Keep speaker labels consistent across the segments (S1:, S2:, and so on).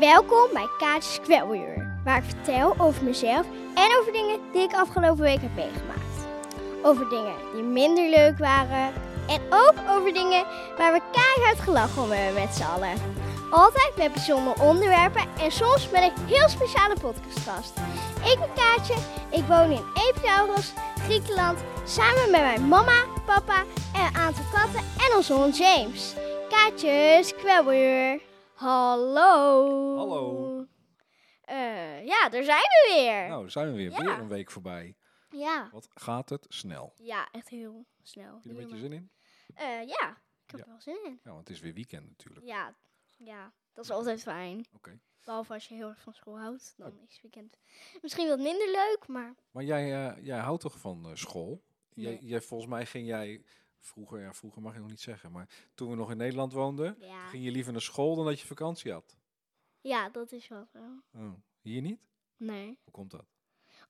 S1: Welkom bij Kaatjes Kwelweer, waar ik vertel over mezelf en over dingen die ik afgelopen week heb meegemaakt. Over dingen die minder leuk waren en ook over dingen waar we keihard gelachen om hebben met z'n allen. Altijd met bijzondere onderwerpen en soms met een heel speciale podcastgast. Ik ben Kaatje, ik woon in Epidaurus, Griekenland, samen met mijn mama, papa en een aantal katten en onze hond James. Kaatjes Kwelweer. Hallo.
S2: Hallo.
S1: Eh, ja, daar zijn we weer.
S2: Nou, zijn we weer.
S1: Ja.
S2: Weer een week voorbij.
S1: Ja.
S2: Wat gaat het snel?
S1: Ja, echt heel snel.
S2: Heb je er een beetje
S1: Heel
S2: zin in?
S1: lang. Eh, ja, ik heb
S2: Ja.
S1: er wel zin in.
S2: Ja, want het is weer weekend natuurlijk.
S1: Ja, ja, dat is altijd fijn.
S2: Oké.
S1: Behalve als je heel erg van school houdt,
S2: Oh.
S1: dan is weekend misschien wat minder leuk, maar
S2: Maar jij, eh, jij houdt toch van eh, school? Jij,
S1: Nee.
S2: jij, volgens mij ging jij vroeger, ja, vroeger mag je nog niet zeggen, maar toen we nog in Nederland woonden,
S1: ja.
S2: ging je liever naar school dan dat je vakantie had.
S1: Ja, dat is wel zo.
S2: Oh, hier niet?
S1: Nee.
S2: Hoe komt dat?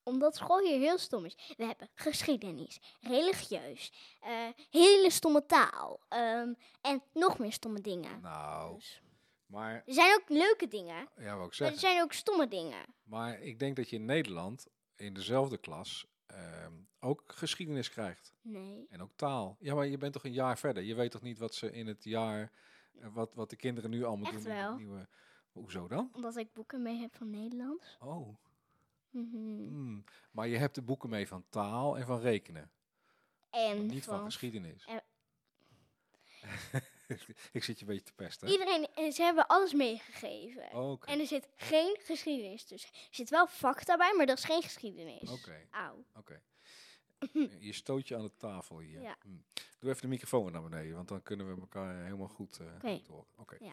S1: Omdat school hier heel stom is. We hebben geschiedenis, religieus, eh, hele stomme taal ehm, en nog meer stomme dingen.
S2: Nou,
S1: Dus.
S2: maar
S1: Er zijn ook leuke dingen,
S2: ja, wou ik
S1: maar er
S2: zeggen.
S1: zijn ook stomme dingen.
S2: Maar ik denk dat je in Nederland in dezelfde klas ehm, ook geschiedenis krijgt.
S1: Nee.
S2: En ook taal. Ja, maar je bent toch een jaar verder? Je weet toch niet wat ze in het jaar, eh, wat, wat de kinderen nu allemaal
S1: Echt
S2: doen? in het
S1: wel.
S2: Nieuwe... Hoezo dan?
S1: Omdat ik boeken mee heb van Nederlands.
S2: Oh.
S1: Mhm.
S2: hmm. Maar je hebt de boeken mee van taal en van rekenen. maar
S1: En
S2: niet van,
S1: van
S2: geschiedenis.
S1: en-
S2: Ik zit je een beetje te pesten. hè?
S1: iedereen, en ze hebben alles meegegeven.
S2: Oké.
S1: En er zit geen geschiedenis tussen. Er zit wel fakta bij, maar dat is geen geschiedenis.
S2: Oké.
S1: Auw.
S2: Oké. Eh, Je stoot je aan de tafel hier.
S1: Ja.
S2: Hmm. Doe even de microfoon weer naar beneden, want dan kunnen we elkaar helemaal goed, eh,
S1: Oké.
S2: goed horen. Oké.
S1: Ja.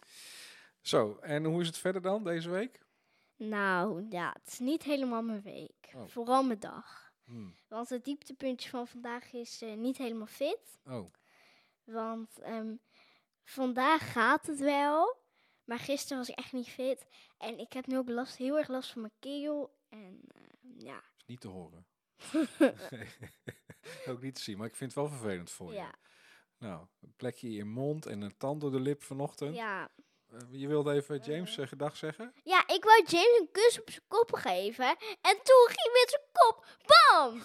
S2: Zo, en hoe is het verder dan deze week?
S1: Nou, ja, het is niet helemaal mijn week.
S2: Oh.
S1: Vooral mijn dag.
S2: Hmm.
S1: Want het dieptepuntje van vandaag is eh, niet helemaal fit.
S2: Oh,
S1: Want ehm, vandaag gaat het wel. Maar gisteren was ik echt niet fit. En ik heb nu ook last, heel erg last van mijn keel. En eh, ja,
S2: is niet te horen. Ook niet te zien, maar ik vind het wel vervelend voor je.
S1: ja,
S2: Nou, een plekje in je mond en een tand door de lip vanochtend.
S1: ja.
S2: Eh, je wilde even James
S1: Eh.
S2: eh, gedag zeggen?
S1: Ja, ik wou James een kus op zijn kop geven. En toen ging met zijn kop. Bam!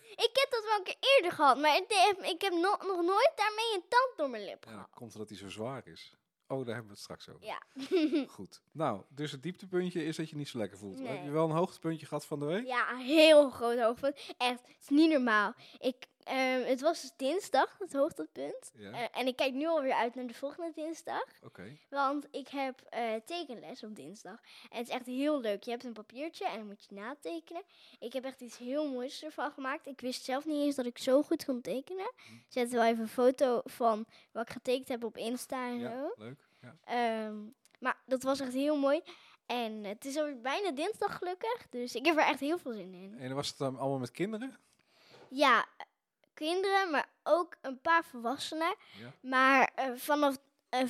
S1: ik heb dat wel een keer eerder gehad. Maar ik, heb- ik heb no- nog nooit daarmee een tand door mijn lip
S2: Ja, dat
S1: gehad.
S2: komt omdat hij zo zwaar is. Oh, daar hebben we het straks over.
S1: Nou. Ja.
S2: Goed. Nou, dus het dieptepuntje is dat je niet zo lekker voelt. Heb
S1: Nee.
S2: je wel een hoogtepuntje gehad van de week?
S1: Ja, een heel groot hoogtepunt. Echt, het is niet normaal. Ik, ehm, het was dus dinsdag, het hoogtepunt.
S2: Ja.
S1: Eh, en ik kijk nu alweer uit naar de volgende dinsdag.
S2: Oké.
S1: Want ik heb eh, tekenles op dinsdag. En het is echt heel leuk. Je hebt een papiertje en dan moet je natekenen. Ik heb echt iets heel moois ervan gemaakt. Ik wist zelf niet eens dat ik zo goed kon tekenen. Ik Zet wel even een foto van wat ik getekend heb op Insta en
S2: Ja,
S1: zo.
S2: leuk. Ja.
S1: Ehm, maar dat was echt heel mooi. En het is alweer bijna dinsdag gelukkig. Dus ik heb er echt heel veel zin in.
S2: En was het dan allemaal met kinderen?
S1: Ja, eh, kinderen, maar ook een paar volwassenen.
S2: Ja.
S1: Maar eh, vanaf de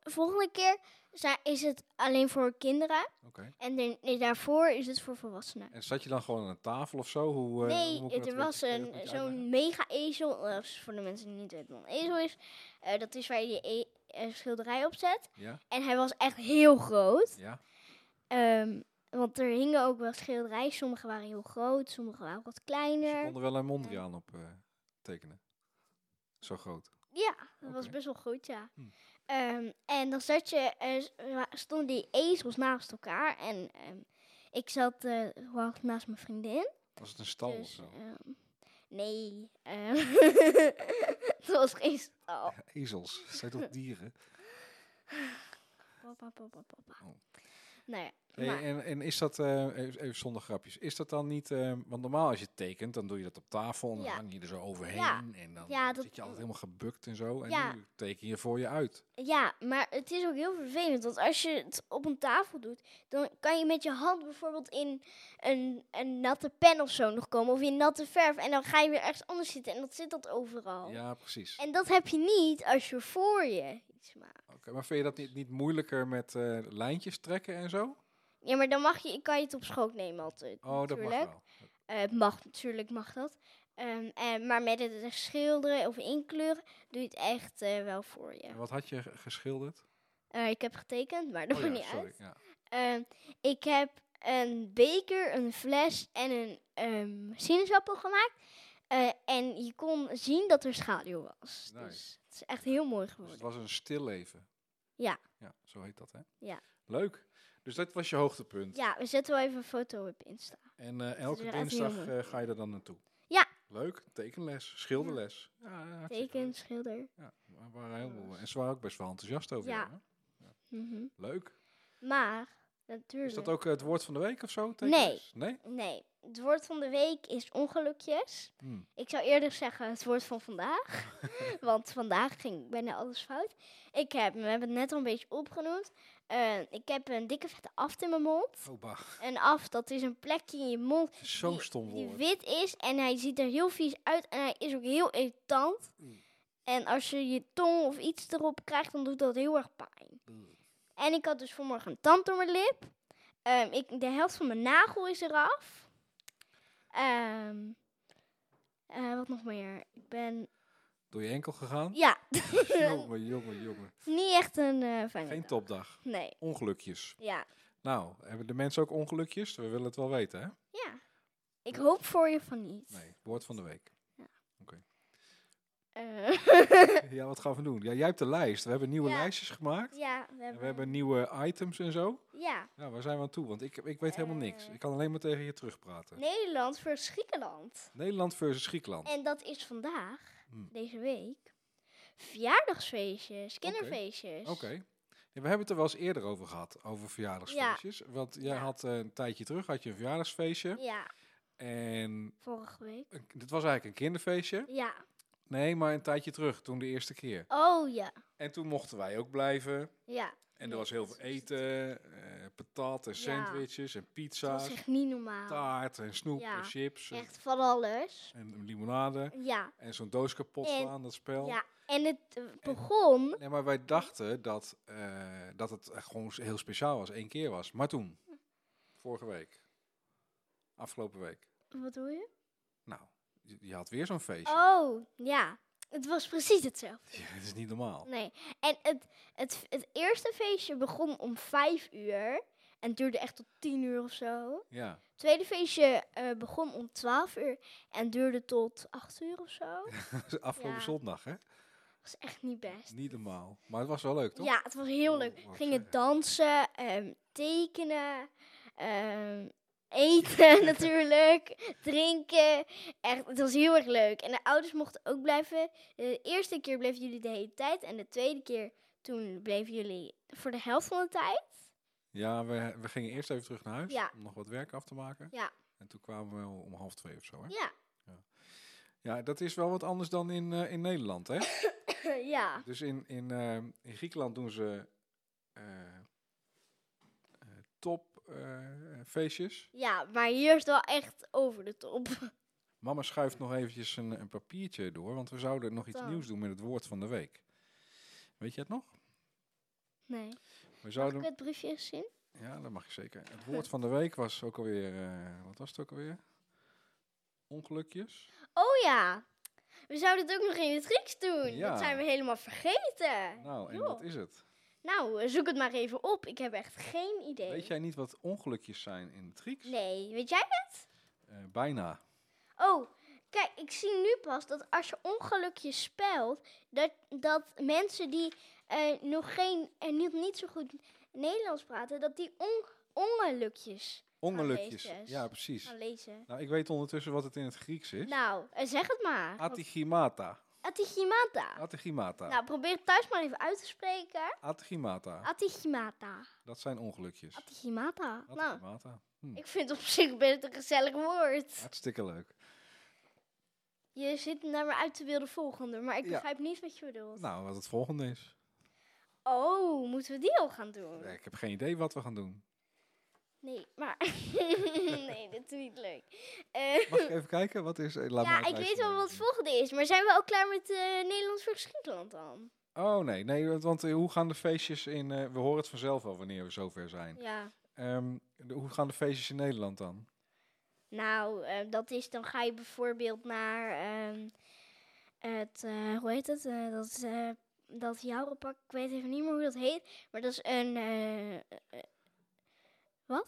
S1: volgende keer zijn, is het alleen voor kinderen.
S2: Oké.
S1: En de- nee, daarvoor is het voor volwassenen.
S2: En zat je dan gewoon aan een tafel of zo? Hoe, eh,
S1: nee,
S2: hoe moet ik me
S1: er
S2: dat
S1: was
S2: weer- kun je dat
S1: een,
S2: een beetje
S1: zo'n mega-ezel. eh, voor de mensen die niet weten wat een ezel is. eh, dat is waar je die e- eh, schilderij op zet.
S2: uitleggen? Ja?
S1: En hij was echt heel groot.
S2: Ja?
S1: Ehm, want er hingen ook wel schilderijen. Sommige waren heel groot, sommige waren wat
S2: Dus je
S1: kleiner.
S2: kon er wel een Mondriaan op eh, tekenen? Zo groot.
S1: Ja, dat was
S2: Oké.
S1: best wel goed, ja.
S2: Hmm.
S1: Ehm, en dan zat je, eh, s- wa- stonden die ezels naast elkaar. En ehm, ik zat eh, vlak naast mijn vriendin.
S2: Was het een stal of
S1: dus,
S2: zo?
S1: ehm, nee, ehm, het was geen stal.
S2: Ezels. Zijn toch dieren?
S1: Papa, papa, papa.
S2: Oh.
S1: Nou ja,
S2: Hey,
S1: maar-
S2: en, en is dat, eh, even, even zonder grapjes, is dat dan niet, eh, want normaal als je tekent, dan doe je dat op tafel en dan
S1: Ja.
S2: hang je er zo overheen
S1: Ja.
S2: en dan
S1: Ja, dat-
S2: zit je altijd helemaal gebukt en zo. En
S1: Ja.
S2: nu teken je voor je uit.
S1: Ja, maar het is ook heel vervelend. Want als je het op een tafel doet, dan kan je met je hand bijvoorbeeld in een, een natte pen of zo nog komen. Of in natte verf. En dan ga je weer ergens anders zitten. En dat zit dat overal.
S2: Ja, precies.
S1: En dat heb je niet als je voor je iets maakt.
S2: Oké, maar vind je dat niet, niet moeilijker met eh, lijntjes trekken en zo?
S1: Ja, maar dan mag je, kan je het op schoot nemen altijd.
S2: Oh, dat mag
S1: natuurlijk.
S2: wel.
S1: Eh, Het mag, natuurlijk mag dat. Ehm, en, maar met het schilderen of inkleuren doe je het echt eh, wel voor je.
S2: En wat had je ge- geschilderd?
S1: Eh, ik heb getekend, maar dat
S2: oh
S1: maakt
S2: ja,
S1: niet uit.
S2: sorry. Ja.
S1: Ehm, ehm, ik heb een beker, een fles en een ehm, sinaasappel gemaakt. Eh, en je kon zien dat er schaduw was.
S2: Nice.
S1: Dus het is echt heel mooi
S2: Dus het
S1: geworden.
S2: was een stilleven.
S1: Ja.
S2: Ja, zo heet dat, hè?
S1: Ja.
S2: Leuk. Dus dat was je hoogtepunt.
S1: Ja, we zetten wel even een foto op Insta.
S2: En eh, elke
S1: is echt heel
S2: dinsdag
S1: mooi.
S2: eh, ga je er dan naartoe?
S1: Ja.
S2: Leuk. Tekenles, schilderles. Ja, ja, hartstikke
S1: Teken,
S2: leuk.
S1: schilder.
S2: Ja, we waren heel, en ze waren ook best wel enthousiast over
S1: Ja.
S2: jou, hè?
S1: Mhm.
S2: Leuk.
S1: Maar, natuurlijk.
S2: Is dat ook eh, het woord van de week of zo? Nee. Nee?
S1: Nee, het woord van de week is ongelukjes.
S2: Hm.
S1: Ik zou eerder zeggen het woord van vandaag. want vandaag ging bijna alles fout. Ik heb, we hebben het net al een beetje opgenoemd. Eh, ik heb een dikke vette aft in mijn mond.
S2: Oh, bah.
S1: Een aft, dat is een plekje in je mond
S2: Zo'n
S1: die-
S2: stom
S1: die
S2: woord.
S1: wit is. En hij ziet er heel vies uit. En hij is ook heel irritant.
S2: Mm.
S1: En als je je tong of iets erop krijgt, dan doet dat heel erg pijn.
S2: Ugh.
S1: En ik had dus vanmorgen een tand door mijn lip. Ehm, ik, de helft van mijn nagel is eraf. Ehm, eh, wat nog meer? Ik ben...
S2: Door je enkel gegaan?
S1: Ja,
S2: jongen, jongen, jongen.
S1: niet echt een eh fijne
S2: Geen
S1: dag.
S2: topdag.
S1: Nee,
S2: Ongelukjes.
S1: ja.
S2: Nou, hebben de mensen ook ongelukjes? We willen het wel weten, hè?
S1: Ja. Ik hoop voor je van niet.
S2: Nee, woord van de week.
S1: Eh,
S2: Ja, wat gaan we doen? Ja, jij hebt de lijst. We hebben nieuwe
S1: Ja.
S2: lijstjes gemaakt.
S1: ja, we
S2: En
S1: hebben...
S2: we hebben nieuwe items en zo.
S1: Ja,
S2: Ja, waar zijn we aan toe? Want ik, ik weet helemaal niks.
S1: Eh.
S2: Ik kan alleen maar tegen je terugpraten.
S1: Nederland versus Griekenland.
S2: Nederland versus Griekenland.
S1: En dat is vandaag,
S2: Hmm.
S1: deze week, verjaardagsfeestjes, kinderfeestjes.
S2: Oké. Ja, we hebben het er wel eens eerder over gehad, over verjaardagsfeestjes. Want jij
S1: Ja.
S2: had eh, een tijdje terug had je een verjaardagsfeestje.
S1: Ja,
S2: En
S1: vorige week.
S2: een- dit was eigenlijk een kinderfeestje.
S1: Ja.
S2: Nee, maar een tijdje terug, toen de eerste keer.
S1: Oh ja,
S2: En toen mochten wij ook blijven.
S1: ja.
S2: En er was heel veel eten, eh patat en
S1: Ja.
S2: sandwiches en
S1: Dat was
S2: pizza's,
S1: echt niet normaal.
S2: taart en snoep
S1: Ja,
S2: en chips en,
S1: Echt van alles.
S2: en limonade.
S1: Ja,
S2: En zo'n doos kapot
S1: En-
S2: slaan, dat spel.
S1: ja. En het eh, begon.
S2: Nee, maar wij dachten dat, eh, dat het eh, gewoon s- heel speciaal was, één keer was. Maar toen, vorige week, afgelopen week,
S1: Wat bedoel je?
S2: nou, je, je had weer zo'n feestje.
S1: Oh, ja. Het was precies hetzelfde.
S2: Ja, het is niet normaal.
S1: Nee. En het, het, het eerste feestje begon om vijf uur. En het duurde echt tot tien uur of zo.
S2: Ja,
S1: Het tweede feestje eh, begon om twaalf uur. En duurde tot acht uur of zo. Dat
S2: afgelopen
S1: Ja.
S2: zondag, hè?
S1: was echt niet best.
S2: Niet normaal. Maar het was wel leuk, toch?
S1: Ja, het was heel
S2: Oh,
S1: leuk.
S2: wou
S1: We
S2: ik
S1: gingen
S2: zeggen.
S1: dansen, ehm, tekenen, ehm, eten natuurlijk, drinken. Echt, het was heel erg leuk. En de ouders mochten ook blijven. De eerste keer bleven jullie de hele tijd. En de tweede keer, toen bleven jullie voor de helft van de tijd.
S2: Ja, we, we gingen eerst even terug naar huis
S1: Ja.
S2: om nog wat werk af te maken.
S1: Ja.
S2: En toen kwamen we om half twee of zo, hè?
S1: Ja,
S2: Ja, dat is wel wat anders dan in, eh, in Nederland, hè?
S1: ja.
S2: Dus in, in, eh, in Griekenland doen ze eh, eh, topfeestjes.
S1: Ja, maar hier is het wel echt over de top.
S2: Mama schuift nog eventjes een, een papiertje door, want we zouden nog iets
S1: Dan.
S2: nieuws doen met het woord van de week. Weet je het nog?
S1: Nee.
S2: We
S1: Heb ik
S2: zouden,
S1: het briefje eens zien?
S2: ja, dat mag je zeker. Het woord van de week was ook alweer, eh, wat was het ook alweer? Ongelukjes?
S1: Oh ja. We zouden het ook nog in het Grieks doen.
S2: Ja.
S1: Dat zijn we helemaal vergeten.
S2: Nou, en
S1: joh.
S2: wat is het?
S1: Nou, eh, zoek het maar even op. Ik heb echt geen idee.
S2: Weet jij niet wat ongelukjes zijn in het Grieks?
S1: Nee, weet jij?
S2: Eh, bijna.
S1: Oh, kijk, ik zie nu pas dat als je ongelukjes spelt, dat, dat mensen die eh, nog geen en niet, niet zo goed Nederlands praten, dat die on- ongelukjes
S2: Ongelukjes.
S1: lezen.
S2: Ja, precies.
S1: gaan lezen.
S2: Nou, ik weet ondertussen wat het in het Grieks is.
S1: Nou, eh, zeg het maar. Want-
S2: Atigimata.
S1: Atigimata.
S2: Atigimata.
S1: Nou, Ah. probeer het thuis maar even uit te spreken.
S2: Atigimata.
S1: Atigimata.
S2: Dat zijn ongelukjes.
S1: Atigimata. Nou,
S2: Atigimata. Hm,
S1: ik vind het op zich best een gezellig woord.
S2: Hartstikke leuk.
S1: Je zit naar me uit te beelden volgende, maar ik
S2: Ja.
S1: begrijp niet wat je bedoelt.
S2: Nou, wat het volgende is.
S1: Oh, moeten we die al gaan doen?
S2: Eh, Ik heb geen idee wat we gaan doen.
S1: Nee, maar... nee, dit is niet leuk. Eh,
S2: Mag ik even kijken? Wat is... eh, Laat maar
S1: ja,
S2: even
S1: ik weet
S2: luisteren.
S1: wel wat het volgende is, maar zijn we ook klaar met eh, Nederlands voor Griekenland dan?
S2: Oh, nee. nee want, want, eh, hoe gaan de feestjes in... eh, we horen het vanzelf al wanneer we zover zijn.
S1: Ja.
S2: Ehm, de- hoe gaan de feestjes in Nederland dan?
S1: Nou, eh, dat is, dan ga je bijvoorbeeld naar ehm, het, eh, hoe heet het, Eh, dat, eh dat jouwrepak, ik weet even niet meer hoe dat heet, maar dat is een, eh, eh, Wat?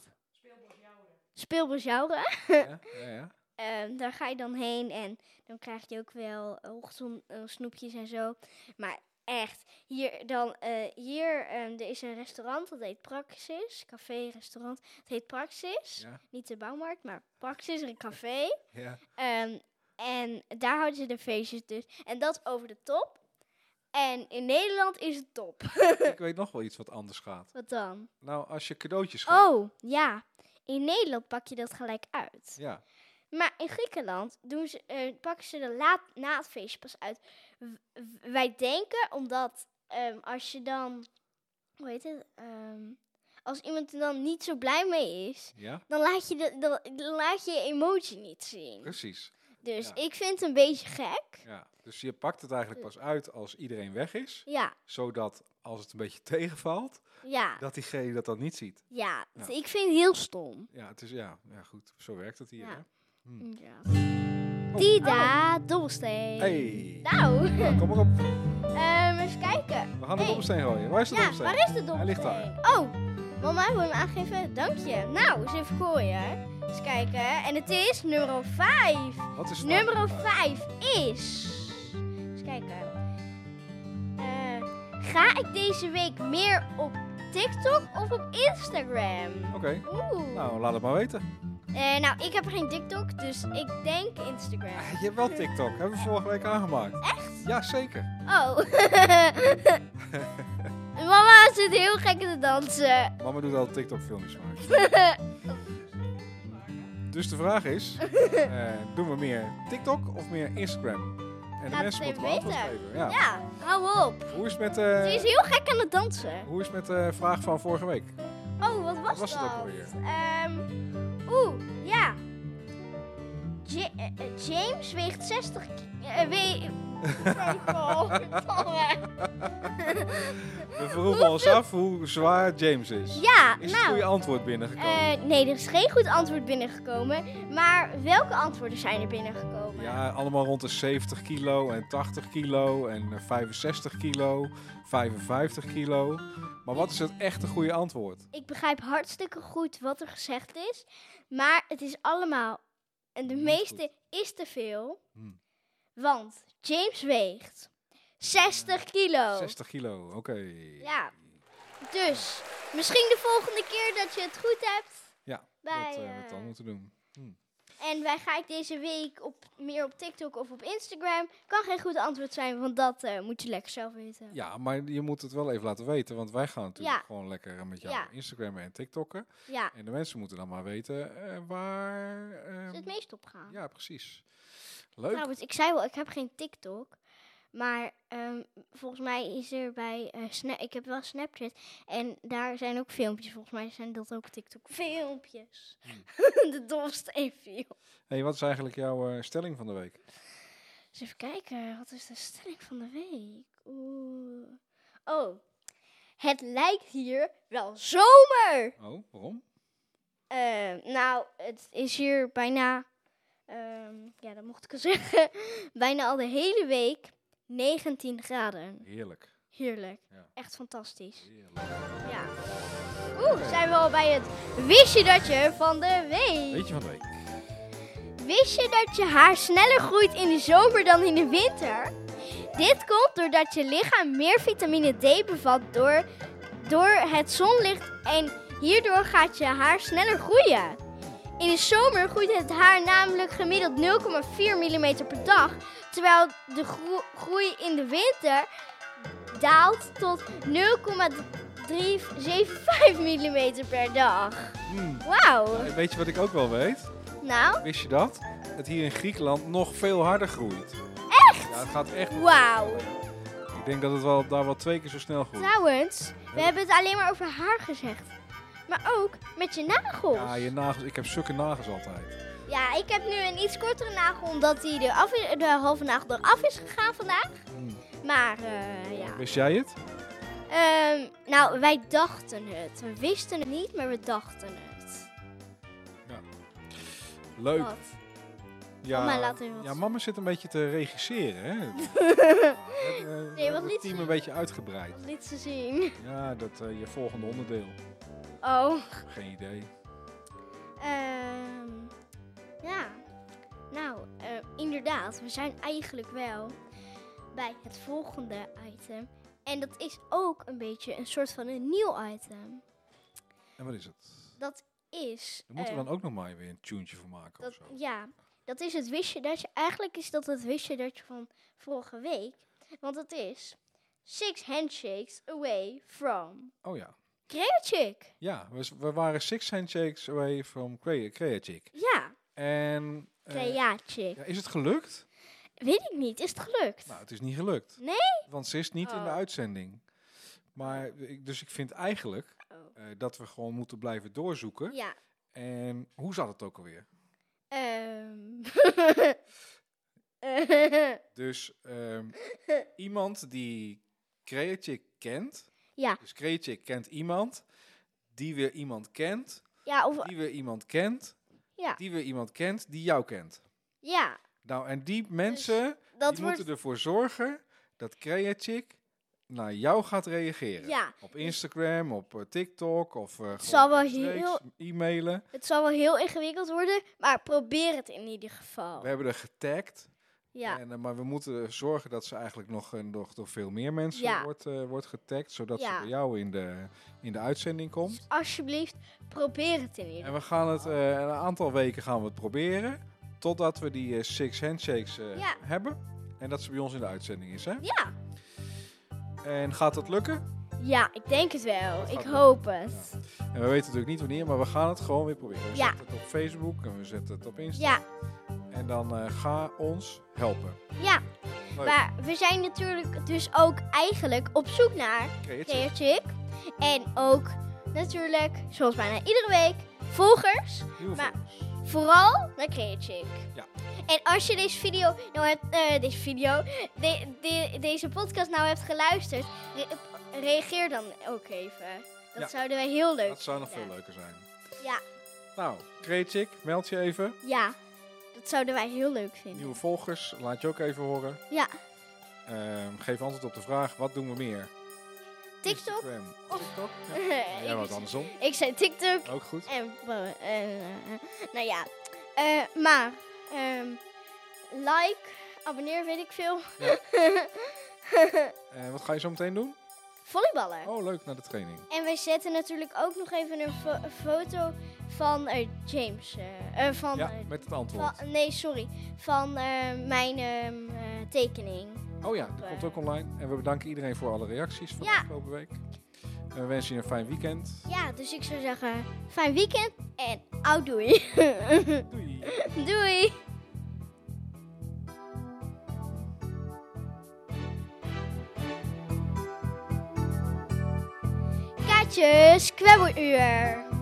S1: Speelbos Jouren.
S2: Ja, ja, ja.
S1: Ehm, daar ga je dan heen en dan krijg je ook wel eh, ongezond eh, snoepjes en zo. Maar echt, hier dan, eh, hier ehm, er is een restaurant, dat heet Praxis. Café, restaurant. Het heet Praxis.
S2: Ja.
S1: Niet de bouwmarkt, maar Praxis, een café.
S2: ja.
S1: Ehm, en daar houden ze de feestjes dus. En dat over de top. En in Nederland is het top.
S2: Ik weet nog wel iets wat anders gaat.
S1: Wat dan?
S2: Nou, als je cadeautjes gaat.
S1: Oh, ja. In Nederland pak je dat gelijk uit.
S2: Ja,
S1: Maar in Griekenland doen ze, eh, pakken ze de laat, na het feestje pas uit. W- w- wij denken, omdat ehm, als je dan, hoe heet het, ehm, als iemand er dan niet zo blij mee is,
S2: ja,
S1: dan laat je, de, dan, dan laat je je emotie niet zien.
S2: precies.
S1: Dus
S2: ja.
S1: ik vind het een beetje gek.
S2: Ja. Dus je pakt het eigenlijk pas uit als iedereen weg is.
S1: Ja,
S2: Zodat als het een beetje tegenvalt,
S1: ja,
S2: dat diegene dat dan niet ziet.
S1: ja.
S2: Ja.
S1: Ik vind het heel stom.
S2: Ja, het is, ja, ja goed. Zo werkt het hier.
S1: Ja.
S2: hè?
S1: Ja.
S2: Hm.
S1: Dida, dobbelsteen.
S2: Hey.
S1: Nou,
S2: Nou, kom maar op.
S1: ehm, eens kijken.
S2: We gaan de
S1: Hey.
S2: dobbelsteen gooien. Waar is de
S1: Ja,
S2: dobbelsteen?
S1: waar is de dobbelsteen?
S2: Hij ligt daar.
S1: Oh, mama wil hem aangeven. Dank je. Nou, eens even gooien. Eens kijken. En het is nummer 5.
S2: Wat is het? nou?
S1: Nummer 5 is... Eens kijken. Eh, ga ik deze week meer op TikTok of op Instagram?
S2: Oké,
S1: Oeh.
S2: nou laat het maar weten.
S1: Eh, nou, ik heb geen TikTok, dus ik denk Instagram.
S2: Ah, Je hebt wel TikTok. Hebben we vorige week aangemaakt.
S1: Echt?
S2: Ja, zeker.
S1: Oh. Mama zit heel gek te dansen.
S2: Mama doet al TikTok filmpjes maken. Dus de vraag is, eh, doen we meer TikTok of meer Instagram? En de
S1: Laat
S2: mensen
S1: het even
S2: moeten antwoord
S1: weten.
S2: geven. Ja.
S1: Ja, hou op.
S2: Hoe is het met,
S1: Ze
S2: eh,
S1: is heel gek aan het dansen.
S2: hoe is het met de vraag van vorige week?
S1: Oh, wat was,
S2: was het
S1: dat?
S2: ook alweer?
S1: Ehm, Oeh, ja. Ja- eh, eh, James weegt 60 ki- eh, we- nou, eh, Godverdomme.
S2: We vroegen ons af hoe zwaar James is.
S1: Ja,
S2: Is het
S1: nou.
S2: goede antwoord binnengekomen?
S1: eh, nee, er is geen goed antwoord binnengekomen. Maar welke antwoorden zijn er binnengekomen?
S2: Ja, allemaal rond de 70 kilo en 80 kilo en eh, 65 kilo, 55 kilo. Maar wat is het echte goede antwoord?
S1: Ik begrijp hartstikke goed wat er gezegd is. Maar het is allemaal. En de
S2: Niet
S1: meeste is te veel.
S2: Hmm.
S1: Want James weegt 60 kilo.
S2: 60 kilo, oké.
S1: Oh. Ja. Dus misschien de volgende keer dat je het goed hebt.
S2: Ja,
S1: Bij,
S2: dat eh, we
S1: eh,
S2: het dan moeten doen.
S1: En wij ga ik deze week op, meer op TikTok of op Instagram. Kan geen goed antwoord zijn, want dat eh, moet je lekker zelf weten.
S2: Ja, maar je moet het wel even laten weten, want wij gaan natuurlijk
S1: Ja.
S2: gewoon lekker eh, met jou
S1: Ja.
S2: Instagram en TikTokken.
S1: Ja,
S2: En de mensen moeten dan maar weten eh, waar... ehm,
S1: is het nou? meest opgaan.
S2: ja, precies. Leuk.
S1: Trouwens, ik zei wel, ik heb geen TikTok. Maar ehm, volgens mij is er bij eh, Sna- ik heb wel Snapchat. En daar zijn ook filmpjes. Volgens mij zijn dat ook TikTok filmpjes.
S2: Hmm.
S1: de domste even. joh.
S2: hey, wat is eigenlijk jouw eh, stelling van de week?
S1: Eens Dus even kijken, wat is de stelling van de week? Oeh. Oh, het lijkt hier wel zomer.
S2: Oh, waarom?
S1: Eh, nou, het is hier bijna, ehm, ja, dat mocht ik al zeggen, bijna al de hele week 19 graden.
S2: Heerlijk.
S1: Heerlijk.
S2: Ja.
S1: Echt fantastisch.
S2: Heerlijk.
S1: Ja. Oeh, zijn we al bij het wist je dat je van de week.
S2: Weet je van de week?
S1: Wist je dat je haar sneller groeit in de zomer dan in de winter? Dit komt doordat je lichaam meer vitamine D bevat door, door het zonlicht en hierdoor gaat je haar sneller groeien. In de zomer groeit het haar namelijk gemiddeld 0,4 mm per dag, terwijl de gro- groei in de winter daalt tot 0,375 mm per dag.
S2: Hmm.
S1: Wauw.
S2: Eh, Weet je wat ik ook wel weet?
S1: Nou,
S2: Wist je dat? Het hier in Griekenland nog veel harder groeit. Echt? Ja, het gaat echt.
S1: wauw.
S2: Ik denk dat het wel, daar wel twee keer zo snel groeit.
S1: Trouwens, we hebben het alleen maar over haar gezegd. Maar ook met je nagels.
S2: Ja, je nagels. Ik heb zulke nagels altijd.
S1: Ja, ik heb nu een iets kortere nagel omdat die de, af de halve nagel eraf is gegaan vandaag.
S2: Hmm.
S1: Maar eh, ja.
S2: Wist jij het?
S1: Ehm, nou, wij dachten het. We wisten het niet, maar we dachten het.
S2: Leuk.
S1: Wat?
S2: Ja,
S1: Oh, Mama laat even wat
S2: ja,
S1: zien.
S2: mama zit een beetje te regisseren. Hè? Ja, het, eh,
S1: Nee, wat
S2: het
S1: liet
S2: team
S1: ze-
S2: een beetje uitgebreid.
S1: Wat liet ze zien?
S2: Ja, dat eh, je volgende onderdeel.
S1: Oh.
S2: Geen idee.
S1: Ehm, ja. Nou, eh, inderdaad. We zijn eigenlijk wel bij het volgende item. En dat is ook een beetje een soort van een nieuw item.
S2: En wat is het?
S1: Dat is...
S2: Daar moeten
S1: eh,
S2: we dan ook nog maar weer een tuentje voor maken
S1: dat,
S2: of zo.
S1: ja, dat is het wistje dat je... Eigenlijk is dat het wistje dat je van vorige week. Want het is... Six handshakes away from...
S2: Oh ja.
S1: Creachick.
S2: Ja, we, s- we waren six handshakes away from Crea- Creachick.
S1: Ja,
S2: En eh,
S1: Creachick.
S2: ja, is het gelukt?
S1: Weet ik niet, is het gelukt?
S2: Nou, het is niet gelukt.
S1: Nee?
S2: Want ze is niet in de
S1: Oh.
S2: uitzending. Maar, ik- dus ik vind eigenlijk
S1: Oh.
S2: eh, dat we gewoon moeten blijven doorzoeken.
S1: Ja,
S2: En hoe zat het ook alweer?
S1: Ehm.
S2: Dus ehm, iemand die Creachick kent.
S1: ja,
S2: Dus Creachick kent iemand. Die weer iemand kent.
S1: ja, of,
S2: Die weer iemand kent.
S1: ja,
S2: Die weer iemand kent. Die jou kent.
S1: ja,
S2: Nou, en
S1: Dus-
S2: die mensen
S1: dat
S2: die
S1: wordt.
S2: moeten ervoor zorgen dat Creachick naar jou gaat reageren.
S1: Ja,
S2: Op Instagram, op eh, TikTok of eh,
S1: zal
S2: gewoon
S1: wel heel-
S2: rechtstreeks e-mailen.
S1: het zal wel heel ingewikkeld worden, maar probeer het in ieder geval.
S2: We hebben er getagd.
S1: Ja,
S2: En, eh, maar we moeten zorgen dat ze eigenlijk nog, eh, nog door veel meer mensen
S1: Ja.
S2: wordt, eh, wordt getagd. Zodat
S1: Ja.
S2: ze bij jou in de, in de uitzending komt.
S1: Dus alsjeblieft, probeer het in
S2: En
S1: ieder
S2: we gaan het eh, een aantal weken gaan we het proberen. Totdat we die eh, six handshakes eh,
S1: Ja.
S2: hebben. En dat ze bij ons in de uitzending is. Hè?
S1: Ja.
S2: En gaat dat lukken?
S1: geval. Ja, ik denk het wel.
S2: Dat
S1: Ik
S2: gaat
S1: hoop het.
S2: En we weten natuurlijk niet wanneer, maar we gaan het gewoon weer proberen. We
S1: Ja.
S2: zetten het op Facebook en we zetten het op Insta.
S1: Ja,
S2: En dan eh, ga ons helpen.
S1: ja.
S2: Leuk.
S1: Maar we zijn natuurlijk dus ook eigenlijk op zoek naar
S2: Creatie.
S1: Creative. En ook natuurlijk, zoals bijna iedere week, volgers.
S2: Nieuwe
S1: maar-
S2: volgers.
S1: Vooral naar Creative.
S2: Ja.
S1: En als je deze video nou hebt, eh, deze video, de- de- deze podcast nou hebt geluisterd, re- reageer dan ook even. Dat
S2: Ja.
S1: zouden wij heel leuk
S2: Dat zou nog veel
S1: vinden.
S2: leuker zijn.
S1: Ja,
S2: Nou, Creatic, meld je even.
S1: ja, dat zouden wij heel leuk vinden.
S2: Nieuwe volgers, laat je ook even horen.
S1: Ja,
S2: Ehm, geef antwoord op de vraag, wat doen we meer?
S1: TikTok.
S2: Instagram,
S1: of-
S2: TikTok, ja.
S1: ik,
S2: ja, wat andersom.
S1: ik zei TikTok
S2: Ook goed.
S1: en, eh, eh, nou ja, Eh, maar ehm, like, abonneer, weet ik veel.
S2: En Eh, wat ga je zo meteen doen?
S1: Volleyballen.
S2: Oh, leuk, naar de training.
S1: En wij zetten natuurlijk ook nog even een fo- een foto van eh, James. eh, eh, van,
S2: Ja,
S1: eh,
S2: met het antwoord.
S1: van- nee, sorry. Van eh, mijn ehm, eh, tekening.
S2: Oh ja, dat komt ook online. En we bedanken iedereen voor alle reacties van
S1: Ja.
S2: afgelopen week. En we wensen je een fijn weekend.
S1: Ja, dus ik zou zeggen, fijn weekend en oud doei.
S2: Doei!
S1: doei! Kaatjes, kwebbeluur.